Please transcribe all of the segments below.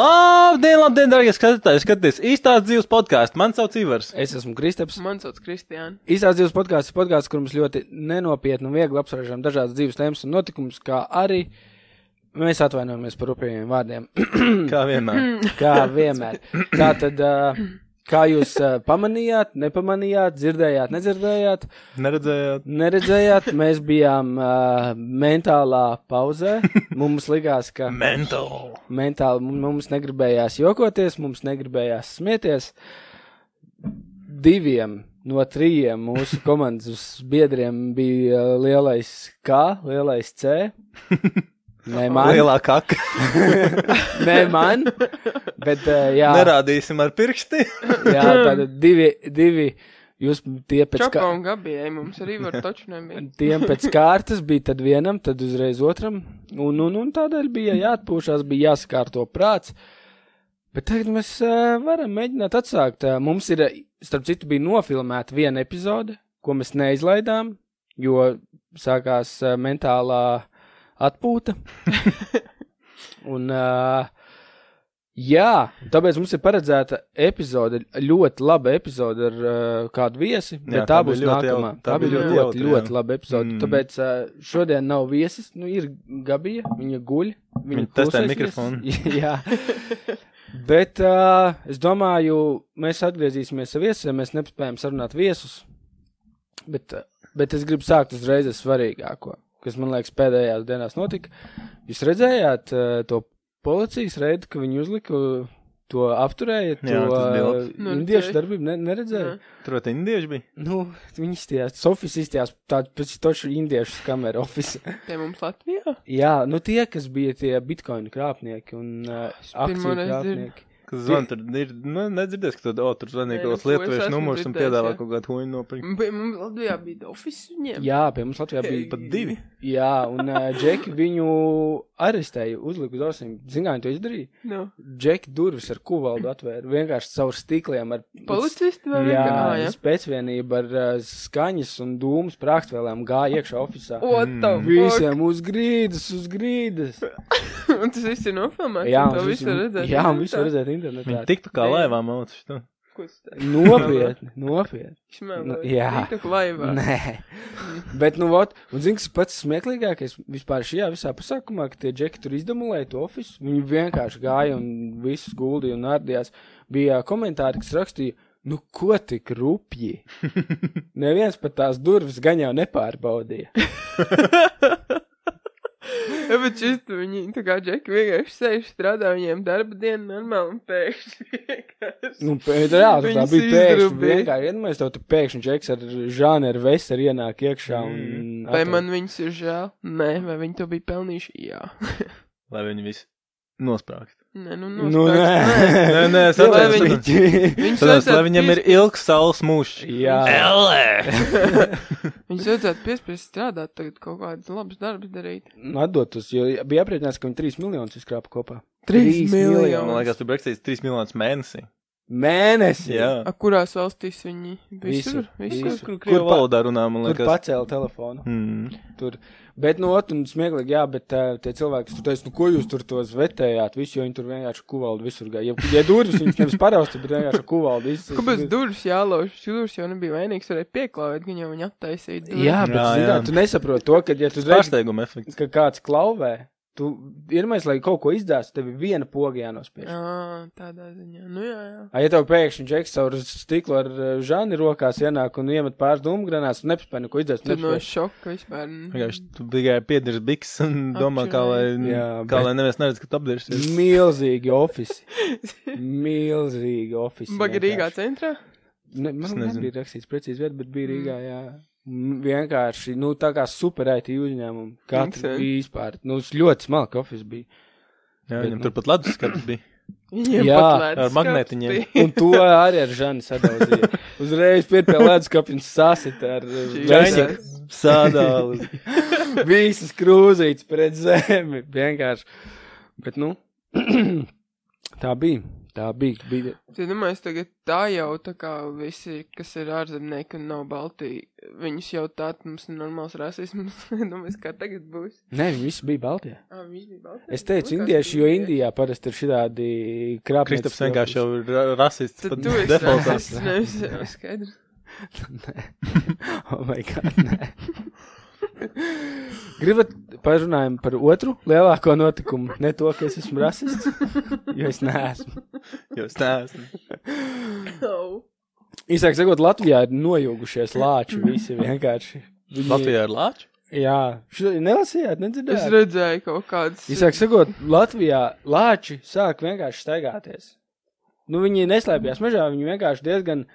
Labdien, labdien, darbie skatītāji! Skaties, īstās dzīves podkāsts. Man sauc Ivars. Es esmu Kristaps. Man sauc Kristiāna. Īsās dzīves podkāsts ir podkāsts, kur mums ļoti nenopietni un viegli apspriežam dažādas dzīves tēmas un notikumus, kā arī mēs atvainojamies par rupjiem vārdiem. Kā vienmēr. kā vienmēr. Tā tad, kā jūs ā, pamanījāt, nepamanījāt, dzirdējāt, nedzirdējāt, Neredzējāt. neredzējāt, mēs bijām ā, mentālā pauzē. Mums likās, ka Mental. mentāli mu- mums negribējās jokoties, mums negribējās smieties. Diviem no trījiem mūsu komandas biedriem bija uh, lielais K, lielais C. Nē, man. Lielā kaka. Nē, man. Bet, uh, jā, Nerādīsim ar pirksti. jā tātad divi, divi. Jūs tie pēc, Čakā kā, un Gabijai mums arī var taču nebija. tiem pēc kārtas bija tad vienam, tad uzreiz otram. Un, un, un tādēļ bija jāatpūšās, bija jāsakārto prāts. Bet tagad mēs uh, varam mēģināt atsākt. Uh, mums ir, ā, starp citu, bija nofilmēta viena epizode, ko mēs neizlaidām, jo sākās uh, mentālā atpūta. Un, uh, jā, tāpēc mums ir paredzēta epizode, ļoti laba epizode ar uh, kādu viesi. Jā, Jā, tā, tā būs ļoti nākamā. jaut- Tā bija ļoti, ļoti, jautra, jā. ļoti laba epizode. Mm. Mm. Tāpēc uh, šodien nav viesis. Nu, ir Gabija, viņa guļ. Viņa testē klusēsies. mikrofonu. jā. Bet uh, es domāju, mēs atgriezīsimies pie viesiem. Mēs nespējam sarunāt viesus. Bet, ā, bet es gribu sākt uzreiz ar svarīgāko, kas man liekas pēdējās dienās notika. Jūs redzējāt ā, to policijas reidu, ka viņi uzlika to apturēju, to Jā, tas bija ā, labs. Nu, indiešu redzēju. darbību ne, neredzēju. Tur vēl tie indieši bija. Nu, viņi izstījās, Sofijas izstījās tādu pēc tošu indiešu kameru ofisu. Te mums Latvijā. Jā, nu tie, kas bija tie bitkoinu krāpnieki un uh, akciju pirmoreiz dzirdu. krāpnieki. Kas zvan tur ir? Nu, nedzirdēs, ka tur, oh, tur zvanīja Nē, kaut kāds nu, ko es lietuviešu esmu numurs un dzirdējis, piedāvā jā. kaut kādu huņu nopirkt. Bet mums Latvijā bija ofis viņiem. Jā, pie mums Latvijā bija Mm. Pat divi. Jā, un uh, Džeki viņu arestēja, uzlika uz ausīm. Zini, kā viņi to izdarīja? Nu, Džeki durvis ar kuvaldu atvēra vienkārši caur stikliem. Ar... policisti vai Jā, vienkārši? jā. Jā. pēcvienība ar uh, skaņas un dūmu sprākstvēlēm gāja iekšā oficiālā. What the fuck? Visiem uz grīdas, uz grīdas. Un tas viss ir nofilmēts. Jā, un to visu var redzēt. Jā, un visu var internetā? redzēt Viņi internetā. tiktu kā Nē. laivā mauc. šitu. Ko es teicu? Nopietni, nopietni. Šmēl, Nu, vai jā. TikTok laivā. Nē, bet, nu, ot, un zini, kas pats smieklīgākais vispār šajā visā pasākumā, ka tie džeki tur izdemolēja to ofisu. Viņi vienkārši gāja un visus guldīja un ārdījās. Bija komentāri, kas rakstīja, nu, ko tik rupji. Neviens pat tās durvis gan jau nepārbaudīja. Jā, bet šis tu viņi, tā kā Džeki vienkārši sēž strādā viņiem darba dienu normāli un pēkšņi vienkārši. Nu, pēc, reāli, tā Viņus bija pēkšņi. izdrubīja. Vienkārši, iedomājies, tev tur pēkšņi džeks ar žānu ar veseru ienāk iekšā un. Vai atver- man viņus ir žēl? Nē, vai viņi to bija pelnījuši? Jā. Lai viņi visi nosprāgst. Nē, nu, Nu, nospēks, nē. Nē, nē, es Lai atceros. viņi- saprotu. Viņi... Tāpēc, Viņus lai vajadzētu viņam ir ilgs saules mūžs. Jā. Ellē! Viņus vajadzētu piespiest strādāt, tagad kaut kādas labas darbas darīt. Atdotos, "Nu, jo bija aprēķināts, ka viņi 3 miljonus izkrāpa kopā. Trīs Trīs miljonus. Man liekas, tur Brexits 3 miljonus mēnesī. Mēnesi! Jā. A, kurās valstīs viņi visur? Visur, Visur. visur. visur. Kur krievu pa- valodā runā, man Tur liekas. pacēla telefonu. Mm. Tur. Bet, nu, ot, un smieklīgi, jā, bet uh, tie cilvēki, kas tur teica, nu, ko jūs tur tos vetējāt, visu, jo viņi tur vienkārši kuvaldu visur gāja. Ja, ja durvis viņus nevis parausta, bet vienkārši kuvaldu izsaka. Kāpēc durvis jālauž? Šis durvis jau nebija vainīgs, varēja pieklāvēt, viņa jau viņa attaisīja. durvis. Jā, bet, Jā, jā, jā. jā. tu nesaproti to, ka, ja tu redzi, Pārsteiguma efekts. ka kāds klauvē, tu irmais, lai kaut ko izdās, tev ir viena poga jānospiež. Jā. Ā, tādā ziņā. Nu jā, jā. A, ja tev pēkšņi džeks caur stiklu ar uh, žani rokās ienāk un iemet pāris dūmgranās, tu nespēj neko izdās. tu Tad no nespēj. šoka vispār. nu. Vienkārši tu tikai piedzeries biks un domā, kā lai, Jā, kā bet- lai neviens neredz, ka tu apdirsies. Milzīgi ofici. Milzīgi ofici. Baga Rīgā centrā? Ne, man Es liekas, nezinu. bija rakstīts precīzi vieta, bet bija Rīgā. Jā. M, Vienkārši, nu, tā kā superēti uzņēmumi. Katra Interesanti. bija vispār. Nu, s- ļoti smalka ofis bija. Jā, viņam tur pat ledus skats bija. Viņiem Jā, pat lētas ar skats magnētiņiem. bija. Un to arī ar Žanu sadalīja. Uzreiz pie ledus kapiņas sasita ar uh, Žaņa. veseru. Sādālis. Visas krūzītes pret zemi. Vienkārši. Bet, nu, tā bija. Tā bija. bija. Es domāju, es nu, tagad tā jau tā kā visi, kas ir ārzemnieki un nav Baltija, viņus jau tā, mums ir normāls rasisms. Domāju, kā tagad būs. Nē, viņi visi bija Baltijā. Ā, viņš bija Baltijā. Es teicu, indieši, jo Indijā parasti ir šādi krāpniecības. Kristaps vienkārši jau ir ra- rasists. Tad pat tu esi defaultā. rasists, nevis skaidrs. oh my God, nē. Gribat parunājam par otru lielāko notikumu? Ne to, ka es esmu rasists, jo es neesmu. Jūs neesat. Au. Īsāk sakot, Latvijā ir nojugušies lāči visi vienkārši. Viņi- Latvijā ir lāči? Jā, šo nelasījāt, Es nedzirdējāt. redzēju kaut kādas. Īsāk sakot, Latvijā lāči sāk vienkārši staigāties. Nu, viņi neslēpjas mežā, viņi vienkārši diezgan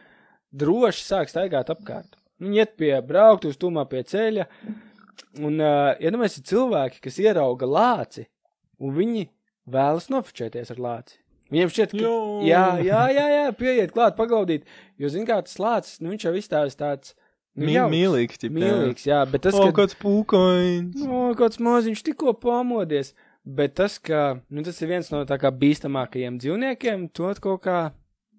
droši sāk staigāt apkārt. Viņi iet pie brauktuves, tumā pie ceļa. Un, uh, iedomājieties, ir cilvēki, kas ierauga lāci, un viņi vēlas nofočēties ar lāci. Viņiem šķiet, ka Jū. jā, jā, jā, jā, pieiet klāt, pagaudīt. Jo, zinām, kā tas lācis, nu, viņš jau izstāsta tāds nu, Mī- jauks, Mīlīgs, tipā. mīlīgs, jā, bet tas, Tas, oh, kad- kāds pūkains. Nu, kāds maziņš tikko pamodies. Bet tas, ka nu, tas ir viens no tā kā bīstamākajiem dzīvniekiem, to kaut kā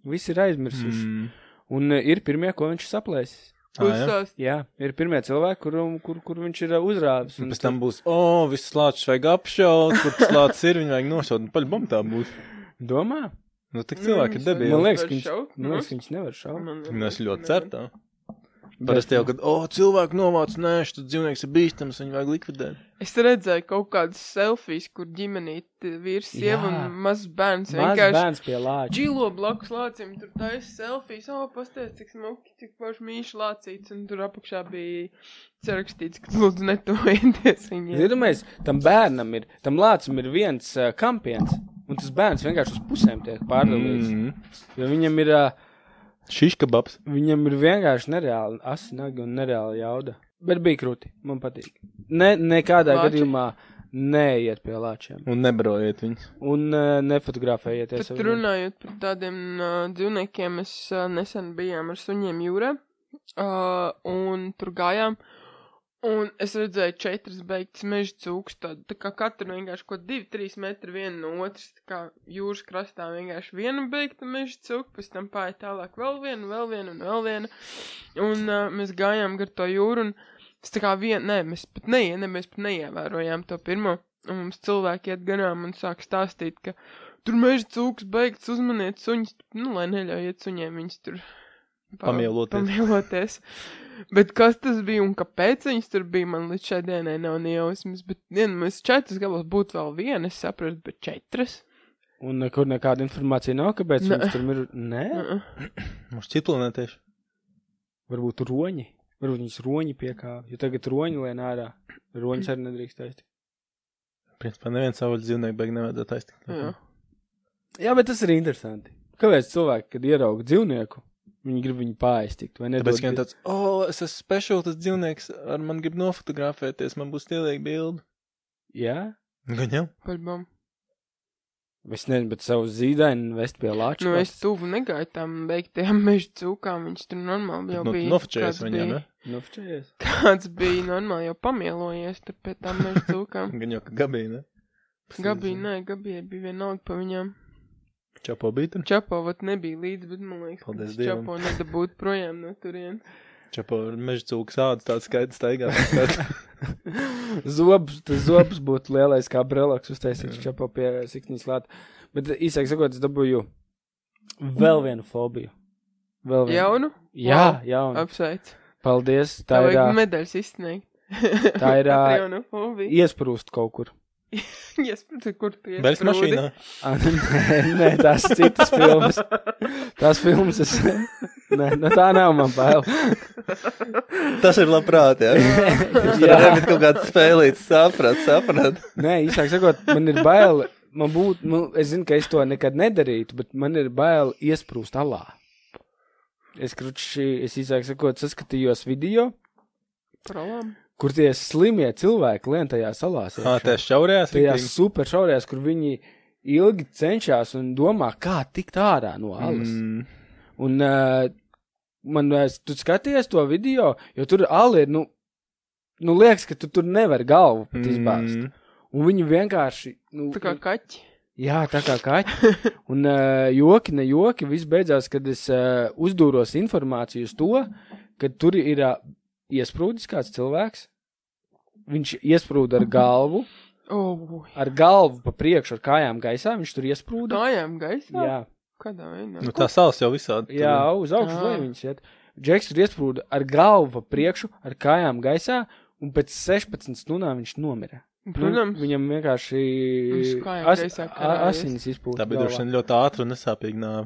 visi ir aizmirsuši. Mm. Mm. Un e, ir pirmie, ko viņš saplēsīs. Ah, Uzsāst. Jā, ir pirmie cilvēki, kur, kur, kur viņš ir e, uzrāvis. Un un pēc tam būs, o, oh, viss slāpes vajag apšaut, kur tas slāpes ir, viņu vajag nošaut, un paļ bumtā būs. Domā? Nu, tik cilvēki ir Nu, debīti. Man Man liekas, var ka viņš, šaut, man liekas, nu? ka viņš nevar šaut. liekas, Nu, es ļoti ceru tā. Parasti jau, kad, o, oh, cilvēku novāc, nē, šis dzīvnieks ir bīstams, viņu vajag likvidēt. Es redzēju kaut kādas selfijas, kur ģimenīte vīrs, sieva Jā. un mazs Maz bērns vienkārši bērns pie lāča. Džilo blakus lācim, tur taisa selfijas, oh, pastāst, cik smuki, cik paši mīši lācīts, un tur apakšā bija sarakstīts, ka lūdzu netuvieties viņiem. Iedomājieties, tam bērnam ir, tam lācim ir viens uh, kampiens, un tas bērns vienkārši uz pusēm tiek pārdalīts. Mm. Jo viņam ir. Uh, Šiškababs. Viņam ir vienkārši nereāli asinaga un nereāla jauda. Bet bija krūti. Man patīk. Ne, nekādā Lāči. Lāči? gadījumā neiet pie lāčiem. Un nebarojiet viņus. Un uh, nefotografējieties. Pat runājot par tādiem uh, dzīvniekiem, mēs uh, nesen bijām ar suņiem jūrā, uh, un tur gājām, un es redzēju četras beigtas meža cūks, tā, tā kā katra vienkārši kaut divi, trīs metri viena no otras, tā kā jūras krastā vienkārši viena beigta meža cūka, pēc tam pāri tālāk vēl viena, vēl viena un vēl viena, un uh, mēs gājām gar to jūru, un es tā kā vien, nē, mēs pat, neie, ne, mēs pat neievērojām to pirmo. Un mums cilvēki iet garām un sāk stāstīt, ka Tur meža cūks beigts, uzmaniet suņus, nu, lai neļaujiet suņiem viņus tur pa- Pamieloties. pamieloties. Bet kas tas bija un kāpēc viņas tur bija, man līdz šai dienai nav nejausmas. Bet, ja nu, mēs četras galos būtu vēl viena, es sapratu, bet četras. Un uh, kur nekāda informācija nav, kāpēc Nē. viņš tur ir. Nē, Uh-uh. Mums citplanētieši. varbūt roņi. Varbūt viņas roņi piekāpja. Jo tagad roņi lien ārā. Roņus arī nedrīkst taisīt. Principā neviens savus dzīvnieku beig nevajadzētu Jā. aiztikt. Mhm. Jā, bet tas ir interesanti. Kāpēc cilvēki, kad ierauga dzīvnieku, viņi grib viņu pāristikt? Vai ne? Tāpēc, ka viņi tāds, o, oh, es esmu speciāls, tas dzīvnieks ar mani grib nofotografēties, man būs stilīga bilde. Jā, Gan jau. Paļbam. es nezinu, bet savu zīdaini vest pie lāča. Nu, es tuvu negāju tam beigtajām meža cūkām, viņas tur normāli jau Nu, bija. Nofočējies kāds viņiem, bija- ne? Nu, fčējies. Kāds bija normāli jau pamielojies tur pie tām meža cūkām. Gan jau, ka gabīna. Gabija, nē, Gabija bija vienalga pa viņām. Čapo bītam. Čapo vat nebija līdzi, bet man liekas, Paldies ka Dievam. čapo nedabūt projām no turienes. Čapo ar meža cūku sādas tāds skaidrs taigā. Tāds Zobs, tas zobs būtu lielais kā brelaks, uztaisīts čapo pie siksnīs klāt. Bet īsāk sakot, es dabūju vēl vienu fobiju. Vēl vienu. Jaunu? Jā, jaunu. Apsveic. Paldies. Tā Tā ir vajag ā, medaļas izsniegt. Tā ir, ā, Jaunu hobiju. iesprūst kaut kur. Jā, sprūdzi, kur tu iesi. bērns mašīnā. Ā, Nē, nē, tās citas filmas. Tās filmas es. Nē, no tā nav man bail. Tas ir labprāt, jā. Jūs Jā. varat kaut kāds spēlīt, saprat, saprat. Nē, īsāk sakot, man ir bail. Man būtu, man- es zinu, ka es to nekad nedarītu, bet man ir bail iesprūst alā. Es kruču, es īsāk sakot, saskatījos video, Prolām. kur tie slimie cilvēki lien tajā salā. Ā, tā šaurējās. tajās super šaurajās, kur viņi ilgi cenšas un domā, kā tikt ārā no alas. Mm. Un uh, man, uh, tu skaties to video, jo tur ali ir, nu, nu mm, liekas, ka tu tur nevar galvu pat izbāzt. Mm. Un viņi vienkārši, nu, Tā kā kaķi. Jā, tā kā kaķis. Un uh, joki, ne joki, viss beidzās, kad es uh, uzdūros informāciju uz to, ka tur ir uh, iesprūdis kāds cilvēks. Viņš iesprūda ar galvu, Oh, ar galvu pa priekšu, ar kājām gaisā. Viņš tur iesprūda. Kājām gaisā? Jā, Kādā veidā? Nu, tā sāls jau visādi. tur jā ir. uz augšu Ā. lai viņš iet. Džeks tur iesprūda ar galvu pa priekšu, ar kājām gaisā, un pēc 16 stundām viņš nomira. Protams. Nu, viņam vienkārši Viņš kājām as, gaisā a- karājies. asins izplūda. Tā bija droši vien ļoti ātra un nesāpīga nāve.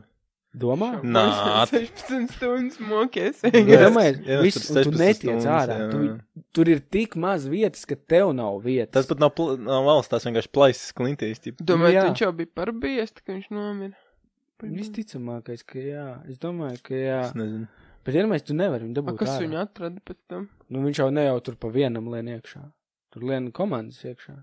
Domā? Nā. 16 stundas mokies. Jā, Ja es- domājies, jā, es viss, tur un tu 16 netiec stundas, ārā. jā. Tu, tur ir tik maz vietas, ka tev nav vietas. Tas pat nav, pl- nav valsts, tas vienkārši plaisas klintīs. tip. Domāju, Jā. ka viņš jau bija parbijies, tā ka viņš nomira. visticamākais, ka jā. Es domāju, ka jā. Es nezinu. Bet vienmēr tu nevari viņu A, dabūt. kas ārā. viņu atrada pēc tam? Nu, viņš jau ne jau tur pa vienam lien iekšā. Tur lien komandas iekšā.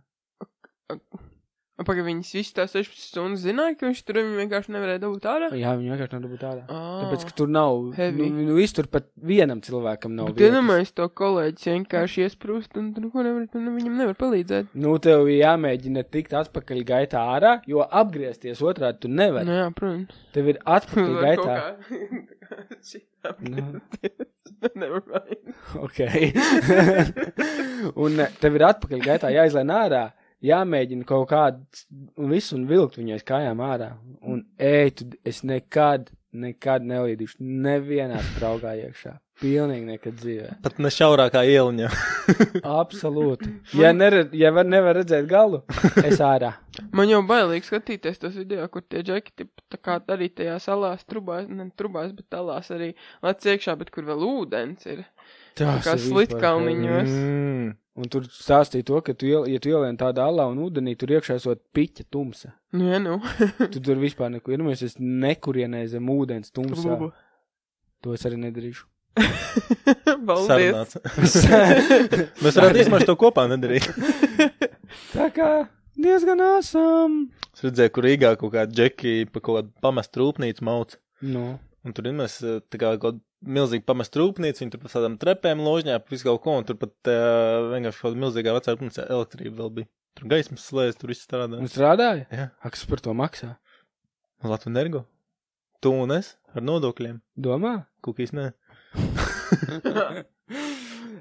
Pagaidām, viņas visu tā 16 stundas zināja, ka viņš tur viņu vienkārši nevarēja dabūt ārā. Jā, viņu vienkārši nav dabūt ārā. Ā. Tāpēc, ka tur nav. Heavy. Nu, nu, viss tur pat vienam cilvēkam nav. Bet iedomājies to kolēģi vienkārši iesprūst, un tur neko nevar, tu ne- viņam nevar palīdzēt. Nu, tev ir jāmēģina tikt atpakaļ gaitā ārā, jo apgriezties otrādi tu nevari. Nu, jā, protams. Tev ir atpakaļ Vai gaitā. kaut kā šitā Nu. apgriezties? Never mind. Ok. un eh, tev ir atpakaļ gaitā jāizlēn ārā, jāmēģina kaut kāds un visu un vilkt viņu aiz kājām ārā. Un ej, tu, es nekad, nekad nelīdīšu nevienā spraugā iekšā. Pilnīgi nekad dzīvē. Pat ne šaurākā ieliņa. Absolūti. Ja, nered, ja var, nevar redzēt galu, es ārā. Man jau bailīgi skatīties tos video, kur tie džeki, tip, tā kā arī tajā salās trubās, ne trubās, bet talās arī lec iekšā, bet kur vēl ūdens ir. Tas Kā ir vispār slitkalniņos. heavy. Mm. Un tur stāstīja to, ka tu, iel, ja tu ielien tādā alā un ūdenī, tur iekšā esot piķa tumsa. Nu, jā, nu. Tu tur vispār neko iedomājies, es nekurienē zem ūdens tumsā. Bubu. To es arī nedarīšu. Paldies. Sarunāts. Mēs varētu īstenībā to kopā nedarīt. Tā kā diezgan esam. Es redzēju, kur Rīgā kaut kāda džeki pa kaut kādu pamestu rūpnīcu mauc. Nu, Un tur ir mēs tā kā kaut milzīgi pamestu rūpnīcu, viņi tur pa tādām trepēm ložņā, pa visu kaut ko, un tur pat uh, vienkārši kaut kāda milzīgā vecā rūpnīca elektrība vēl bija. Tur gaismas slēdz, tur viss strādā. un strādāja? Jā. A, kas par to maksā? Latvijas energo. Tu un es ar nodokļiem. Domā? Kukīs nē.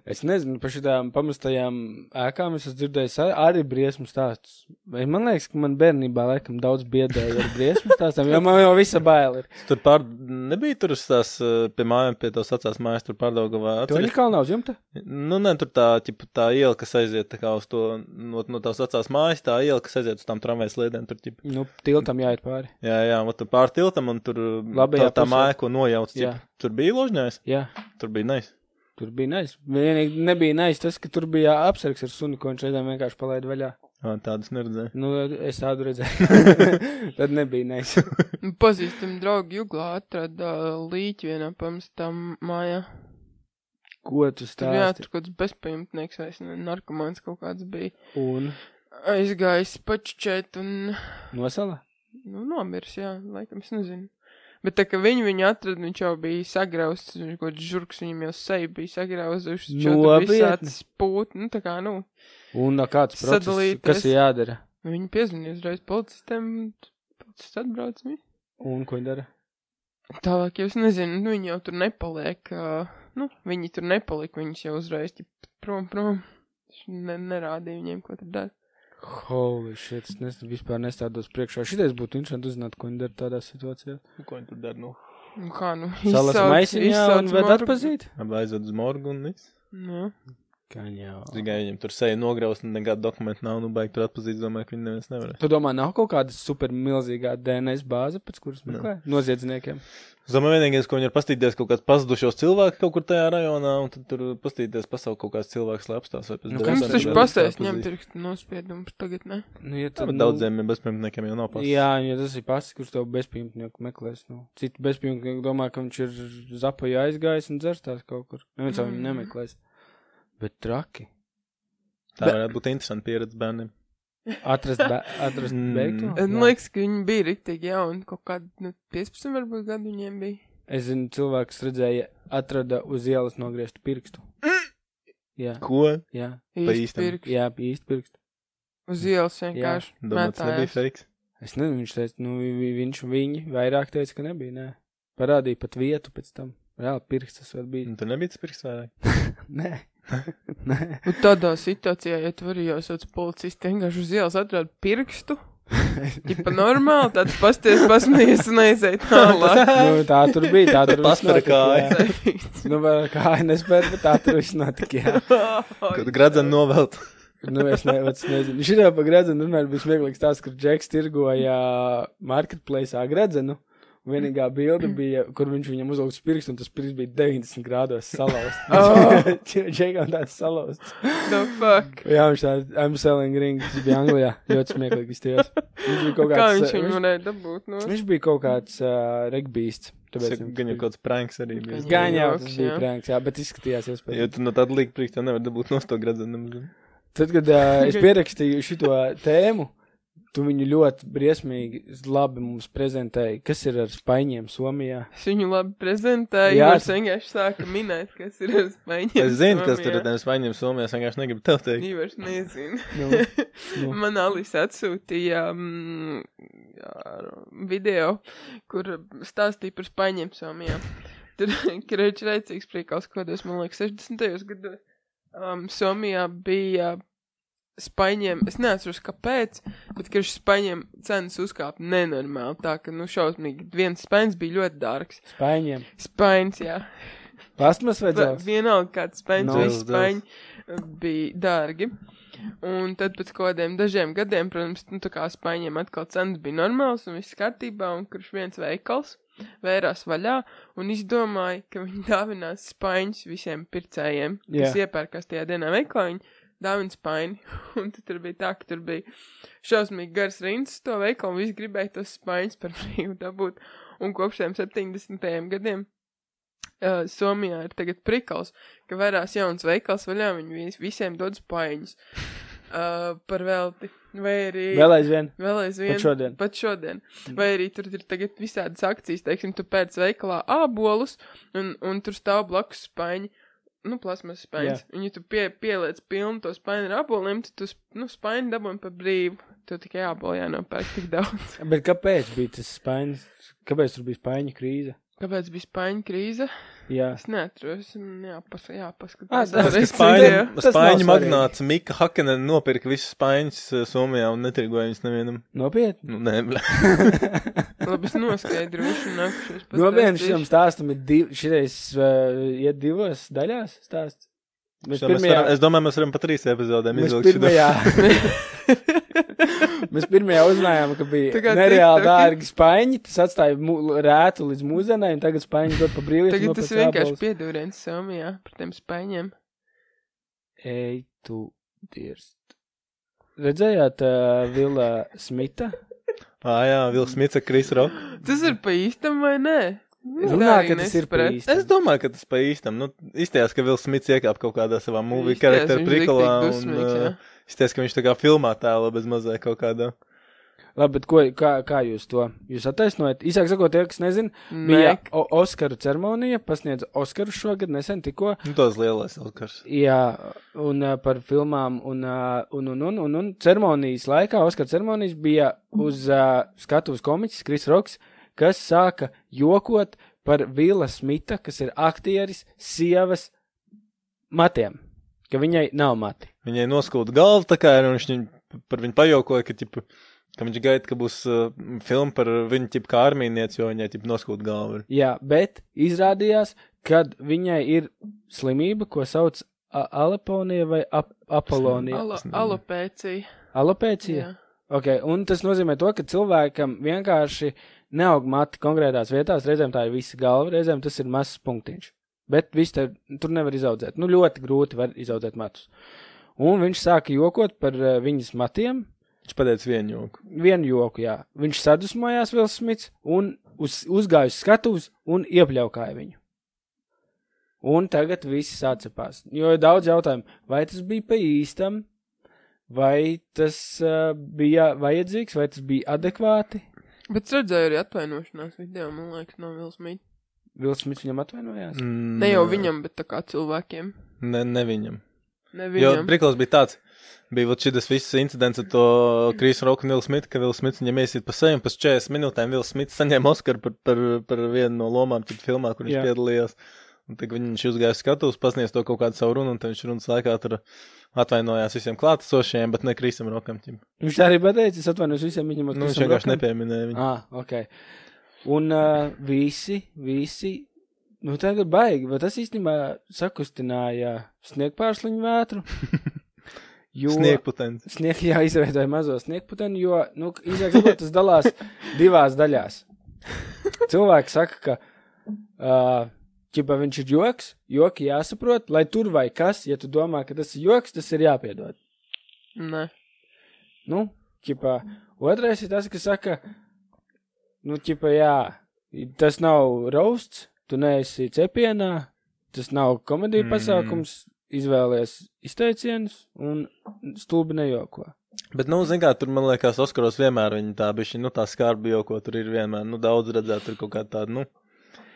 es nezinu, par šīm pamestajām ēkām es esmu dzirdējis ar- arī briesmu stāstus. Vai Man liekas, ka man bērnībā laikam daudz biedēja ar briesmu stāstiem, jo man jau visa baila ir. Tur pār... nebija tur uz tās uh, pie mājām, pie tās vecās mājas, tur pārdaugavā. To viņa kalnā uz jumta? Nu, nē, tur tā, ķipa, tā iela, kas aiziet tā kā uz to, no, no tās vecās mājas, tā iela, kas aiziet uz tām tramvajas sliedēm. Tur, ķipa, Nu, tiltam jāiet pāri. jā, jā, un tur pār tiltam, un tur Labajā tā, tā pusē. māja, ko nojauc. Jā. Ķipa, tur bija ložņājs, Jā. tur bija nais. Tur bija nais. Vienīgi nebija nais tas, ka tur bija apsargs ar sunu, ko viņš reizēm vienkārši palaida vaļā. Ā, Tādas neredzēju. Nu, es tādu redzēju. Tad nebija nais. Nu, Pazīstam draugu Juglā atrada līķi vienā pamestām mājā. Ko tu Tur jā, stāsti? tur kaut kāds bezpajumtnieks vai es ne- narkomāns kaut kāds bija. Un Aizgājis pačķēt un, nosala? nu, nomirs, jā, laikam es nezinu. Bet tā kā viņi viņu atrada, viņš jau bija sagrauzts, viņš kaut kāds žurks, viņam jau seju bija sagrauzuši. viņš jau tur Nopietni? visāds Spūt, nu, tā kā, nu, Un ā, kāds process, Sadalīties. kas ir jādara? nu, viņi piezvanīja uzreiz policistiem, policists atbrauc. viņi- Un ko dara? Tālāk jau es nezinu, nu, viņi jau tur nepaliek, ā, nu, viņi tur nepalika, viņus jau uzreiz ķip prom, prom. Viņš Ne, nerādīja viņiem, ko tur dara. Holy shit, es nes, vispār nestādos priekšā. Šitais būtu interesanti uzzināt, ko viņi dara tādā situācijā. Ko viņi tur dara? Nu? Nu, kā, nu, Salas izsauc- maisiņā izsauc un ved margu. atpazīt? Aizved uz morgu un viss. Nu, Gan jau. Tikai viņam tur seja nograust un nekāda dokumenta nav, nu baigi tur atpazīt, domāju, ka viņi neviens nevarēs. Tu domā, nav kaut kāda super milzīgā DNS bāze, pēc kuras Nē. meklē noziedzniekiem? Es domāju, vienīgais, ko viņi var pastīties, kaut kāds pazudušos cilvēks kaut kur tajā rajonā, un tad tur pastīties pasauli kaut kāds cilvēks, lai apstās vai pēc deviem Nu, kas Mums gadiem tas taču vēl pasēs neatpazīst. ņemt pirkstu nospiedumus tagad, ne? Nu, ja Jā, bet daudziem bezpajumtniekiem jau nav pasaules. Jā, ja tas ir pats, kurš tev bezpajumtnieku meklēs. Nu. Citi bezpajumtnieki domā, ka viņš ir zapoja aizgājis un dzerstās kaut kur. Neviens jau viņu Mm. nemeklēs. Bet traki. Tā Bet- varētu būt interesanta pieredze bērniem. Atrast, be, atrast Mm. beigtu. Jā. Man liekas, ka viņi bija riktīgi jauni, kaut kādi, nu, 15 varbūt gadu viņiem bija. Es zinu, cilvēks redzēja, atrada uz ielas nogrieztu pirkstu. Mm. Jā, Ko? jā, Īsti īstam. pirkstu. jā bija īsti pirkstu. Uz ielas vienkārši. Domāju, tas mētājās. nebija fake. Es nezinu, viņš teica, nu, vi- vi- viņš viņi vairāk teica, ka nebija. Nē. Parādīja pat vietu pēc tam. Reāli pirkstas vēl bija. Nu, Tur nebija tas pirksts vairāk. Nē. Nē. Un Nu, tādā situācijā, ja tu arī jāsauc policisti, vienkārši uz ielas atrod pirkstu. Tipa normāli, tāds pasties pasmējies un aiziet tālāk. Nu, tā tur bija. Tā tur viss Paspēra notika, kāju. jā. Nu, vēl kā nespēja, bet tā tur viss notika. Jā. Kad gradzenu novelt. Nu, es ne, vec nezinu. Šitā pa gredzenu vienmēr bija smieklīgs tās, kur Džeks tirgoja marketplace'ā gredzenu. Un Vienīgā bilde bija, kur viņš viņam uzlika uz pirkstu, un tas pirksts bija 90 grādos Oh. salauzts. Džekam tāds salauzts. The fuck. Jā, viņš tāds, I'm selling ring, tas bija Anglijā. Ļoti smieklīgs tieši. Viņš bija kaut Kā kāds. viņš viņu viņš, varēja dabūt nu? no? viņš bija kaut kāds uh, regbīsts. Tas Tāpēc ir gan jau kaut kāds pranks arī bija. Gan Gan jau joks, tas bija jā. prāks, jā, bet izskatījās iespējams. Ja tu no tāda līga priekš, tev nevar dabūt no to gradzenu. Tad, kad uh, es pierakstīju šo tēmu, tu viņu ļoti briesmīgi, labi mums prezentēji, kas ir ar spaiņiem Somijā. Es viņu labi prezentēju, Jā. jo es vienkārši sāku minēt, kas ir uz maiņa. Es zinu, kas tur ir tādiem spaiņiem Somijā, es vienkārši negribu tev teikt. Viņi vairs nezina. Nu, nu. Man Alis atsūtīja mm, ar video, kur stāstīja par spaiņiem Somijā. Tur krēķis rēcīgs priekals, kādos, man liekas, 60. gados. Um, Somijā bija spaiņiem, es neatceros, kāpēc, bet ka spaiņiem cenas uzkāpa nenormāli. Tā ka, nu, šausmīgi, viens spaiņas bija ļoti dārgs. Spaiņiem. Spaiņas, jā. Plasmas vai Va- dzels? Vienalga, kāds spēļņš, Nav. Dzels, visi spēļņi eh, bija dārgi. Un tad pēc kaut kādiem dažiem gadiem, protams, nu, tā kā spēļņiem atkal cenas bija normāls un viss kārtībā, un kurš viens veikals vērās vaļā un izdomāja, ka viņi dāvinās spēļņus visiem pircējiem, Jā. kas iepērkās tajā dienā veiklā. Viņi dāvina spēļņu, un tad tur bija tā, ka tur bija šausmīgi gars rindas uz to veikalu, un visi gribēja tos spēļņus par brīvu dabūt. Un kopš tiem 70. gadiem uh, Somijā ir tagad prikals, ka vērās jauns veikals vaļā, viņi vis, visiem dod spaiņus uh, par velti. Vai arī Vēl aizvien. vēl aizvien. Pat šodien. Mm. Pat šodien. Vai arī tur ir tagad visādas akcijas, teiksim, tu pēc veikalā ābolus un, un tur stāv blakus spaiņi. Nu, plasmas spaiņas. Yeah. Un, ja tu pie, pieliec pilnu to spaini ar aboliem, tad tu, sp- nu, spaini dabūni par brīvu. Tu tikai āboli jānopērk tik daudz. Bet kāpēc bija tas spaiņas? Kāpēc tur bija spaiņu krīze? Kāpēc bija spaiņu krīze? Jā. Es neatceros, un jāpas, Ah, jāpaskatās. tas, vēlreiz kas spaiņi- video. Spaiņu, tas nav svarīgi. spaiņu magnāts Mika Hakenen nopirka visus spaiņus eh, Somijā un netirgoja viņus nevienam. Nopietni. Nu, nē, blē. Labi, es noskaidrošu, un nākušos pēc Nopietni šim stāstam ir div, šitais, uh, iet divas daļās stāsts. Mēs Šo mēs pirmajā, varam- Es domāju, mēs varam pa trīs epizodēm mēs izvilkt šo. pirmajā, Mēs pirmie uzzinājām, ka Tā bija kā nereāli TikToki. dārgi spaņi. Tas atstāja mu, rētu līdz mūzenai, un tagad spaņi dod pa brīvību. Tagad tas vienkārši piedūriens Somijā par tiem spēņiem. Ej, tu dirst. Redzējāt, uh, Vila Smita? Ā, jā, Vils Mica, Kris Rok. Tas ir pa īstam vai nē? Es Runā, tā arī ka tas ir pa nesapratu. īstam. Es domāju, ka tas pa īstam. Nu, izties, ka Vils Mica iekāp kaut kādā savā mūvī Izties, karakteru viņš riktīgi prikolā. dusmīgs, jā. eh, Izties, ka viņš tā kā filmā tēlā bez mazā kaut kādā. Labi, bet ko, kā, kā jūs to? Jūs attaisnojat? Īsāk sakot, tie, kas nezina, bija Nē. o Oskaru ceremonija, pasniedz Oskaru šogad nesen tikko. Nu, tos lielais elkars. Jā, un uh, par filmām, un, uh, un, un, un, un, un ceremonijas laikā, Oskara ceremonijas bija uz uh, skatuves komiķis Kris Roks, kas sāka jokot par Vila Smita, kas ir aktieris sievas matiem, ka viņai nav mati. Viņai noskūda galvu, tā kā ir, un viņš viņu- par viņu pajokoja, ka, ķipa, ka viņš gaida, ka būs uh, filma par viņu ķipa, kā armīnieci, jo viņai ķipa, noskūda galvu. ir. Jā, bet izrādījās, ka viņai ir slimība, ko sauc a- aleponija vai ap apolonija. Alo, es nezinu. alopēcija. Alopēcija? Jā. Okay, un tas nozīmē to, ka cilvēkam vienkārši neaug mati konkrētās vietās. Reizēm tā ir visa galva, reizēm tas ir mazs punktiņš. Bet viss te, tur nevar izaudzēt. Nu, ļoti grūti var izaudzēt matus. Un viņš sāka jokot par uh, viņas matiem. Viņš pateica vienu joku. Vienu joku, jā. Viņš sadusmojās vēl smits un uz, uzgāja uz skatuves un iepļaukāja viņu. Un tagad viss atcepās. Jo ir daudz jautājumu, vai tas bija pa īstam, vai tas uh, bija vajadzīgs, vai tas bija adekvāti. Bet es redzēju arī atvainošanās video, man liekas, no Vilsmīta. Vils Smits viņam atvainojās. Mm, Ne jau viņam, bet tā kā cilvēkiem. Ne, ne viņam. Jo Nevienam. priklājs bija tāds. Bija vat šis viss incidents ar to Krīsu Roku un Vilnu Smitu, ka Vils Smits viņam iesiet pa seju un pēc 40 minūtēm Vils Smits saņēma Oskaru par, par, par vienu no lomām tad filmā, kur viņš Jā. Jā. piedalījās. Un tad viņš uzgāja uz skatuves, pasniedz to kaut kādu savu runu, un tad viņš runas laikā tur atvainojās visiem klātesošajiem, bet ne Krīsam Rokam. ķim. Viņš tā arī pateica, es atvainojos visiem viņam, Nu, viņš vienkārši nepieminēja viņu. Ah, ok. Un uh, visi, visi, nu tagad baigi, bet tas īstenībā sakustināja sniegpārsliņu vētru. Jo... Sniegputens. Snieg, jā, izveidoja mazo sniegputeni, jo nu, izrādās, tas dalās divās daļās. Cilvēki saka, ka ķipa, viņš ir joks, joki jāsaprot, lai tur vai kas, ja tu domā, ka tas ir joks, tas ir jāpiedod. Nē. Nu, ķipa, otrais ir tas, kas saka, nu, ķipa, jā, tas nav rausts, tu neesi cepienā, tas nav komēdija Mm. mm. pasākums, izvēlies izteicienus un stulbi nejoko. Bet, nu, zināmā mērā, tur, man liekas, Oskaros vienmēr viņa tā bija. Nu, tā skarbi jau, ko tur ir vienmēr. Nu, daudz redzēt, tur kaut kā tāda, nu, Jā,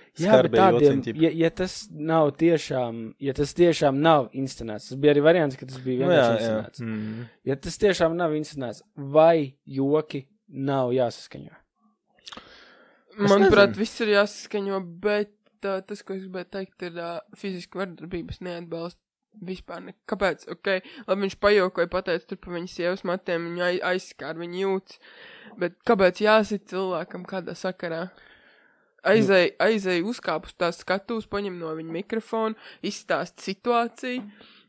bet skarbie tādiem, jociņi, ķip. ja, ja tas nav tiešām, ja tas tiešām nav inscenēts, tas bija arī variants, ka tas Nu, bija jā, vienkārši jā. inscenēts. Mm. Ja tas tiešām nav inscenēts, vai joki nav jāsaskaņo? Manuprāt, nezinu. viss ir jāsaskaņo, bet uh, tas, ko es gribēju teikt, ir uh, fiziska vardarbības neatbalsts. Vispār ne. Kāpēc? Okay. Labi, viņš pajokoja, pateica tur par viņas sievas matiem, viņa ai- aizskāra, viņa jūtas. Bet kāpēc jāsit cilvēkam kādā sakarā? Aizēja, aizēja uzkāp uz tās skatuves, paņem no viņa mikrofonu, izstāst situāciju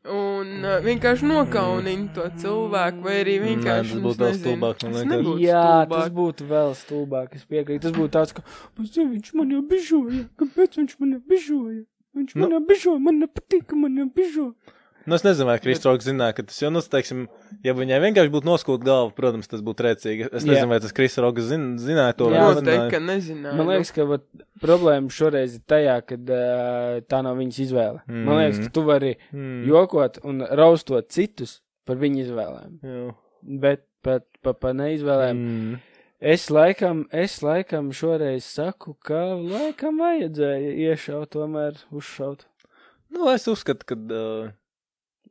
un uh, vienkārši nokaunina to cilvēku, vai arī Nē, tas vienkārši. nu, būtu es vēl nezinu. stulbāk, man Tas liekas. nebūtu Jā, stulbāk. tas būtu vēl stulbāk. Es piekrītu. Tas būtu tāds, ka "Pats jau viņš man jau bižoja. Kāpēc viņš man jau bižoja? Viņš man Nu. jau bižoja, man nepatīk, ka man jau bižoja. Nu, es nezinu, vai Kristofers zināja, ka tas jau, nu, teiksim, ja viņai vienkārši būtu noskūta galva, protams, tas būtu rēcīgi. Es Jā. nezinu, vai tas Kristofers zin, zināja to. Jā, nu, vai Noteikti, nezināja. ka nezināju. Man liekas, ka vat, problēma šoreiz ir tajā, ka uh, tā nav viņas izvēle. Mm. Man liekas, ka tu vari Hmm. jokot un raustot citus par viņu izvēlēm. Jā. Bet pat par pa neizvēlēm. Mm. Mm. Es, laikam, es laikam šoreiz saku, ka laikam vajadzēja iešaut, tomēr uzšaut. Nu, es uzskatu, ka. Uh,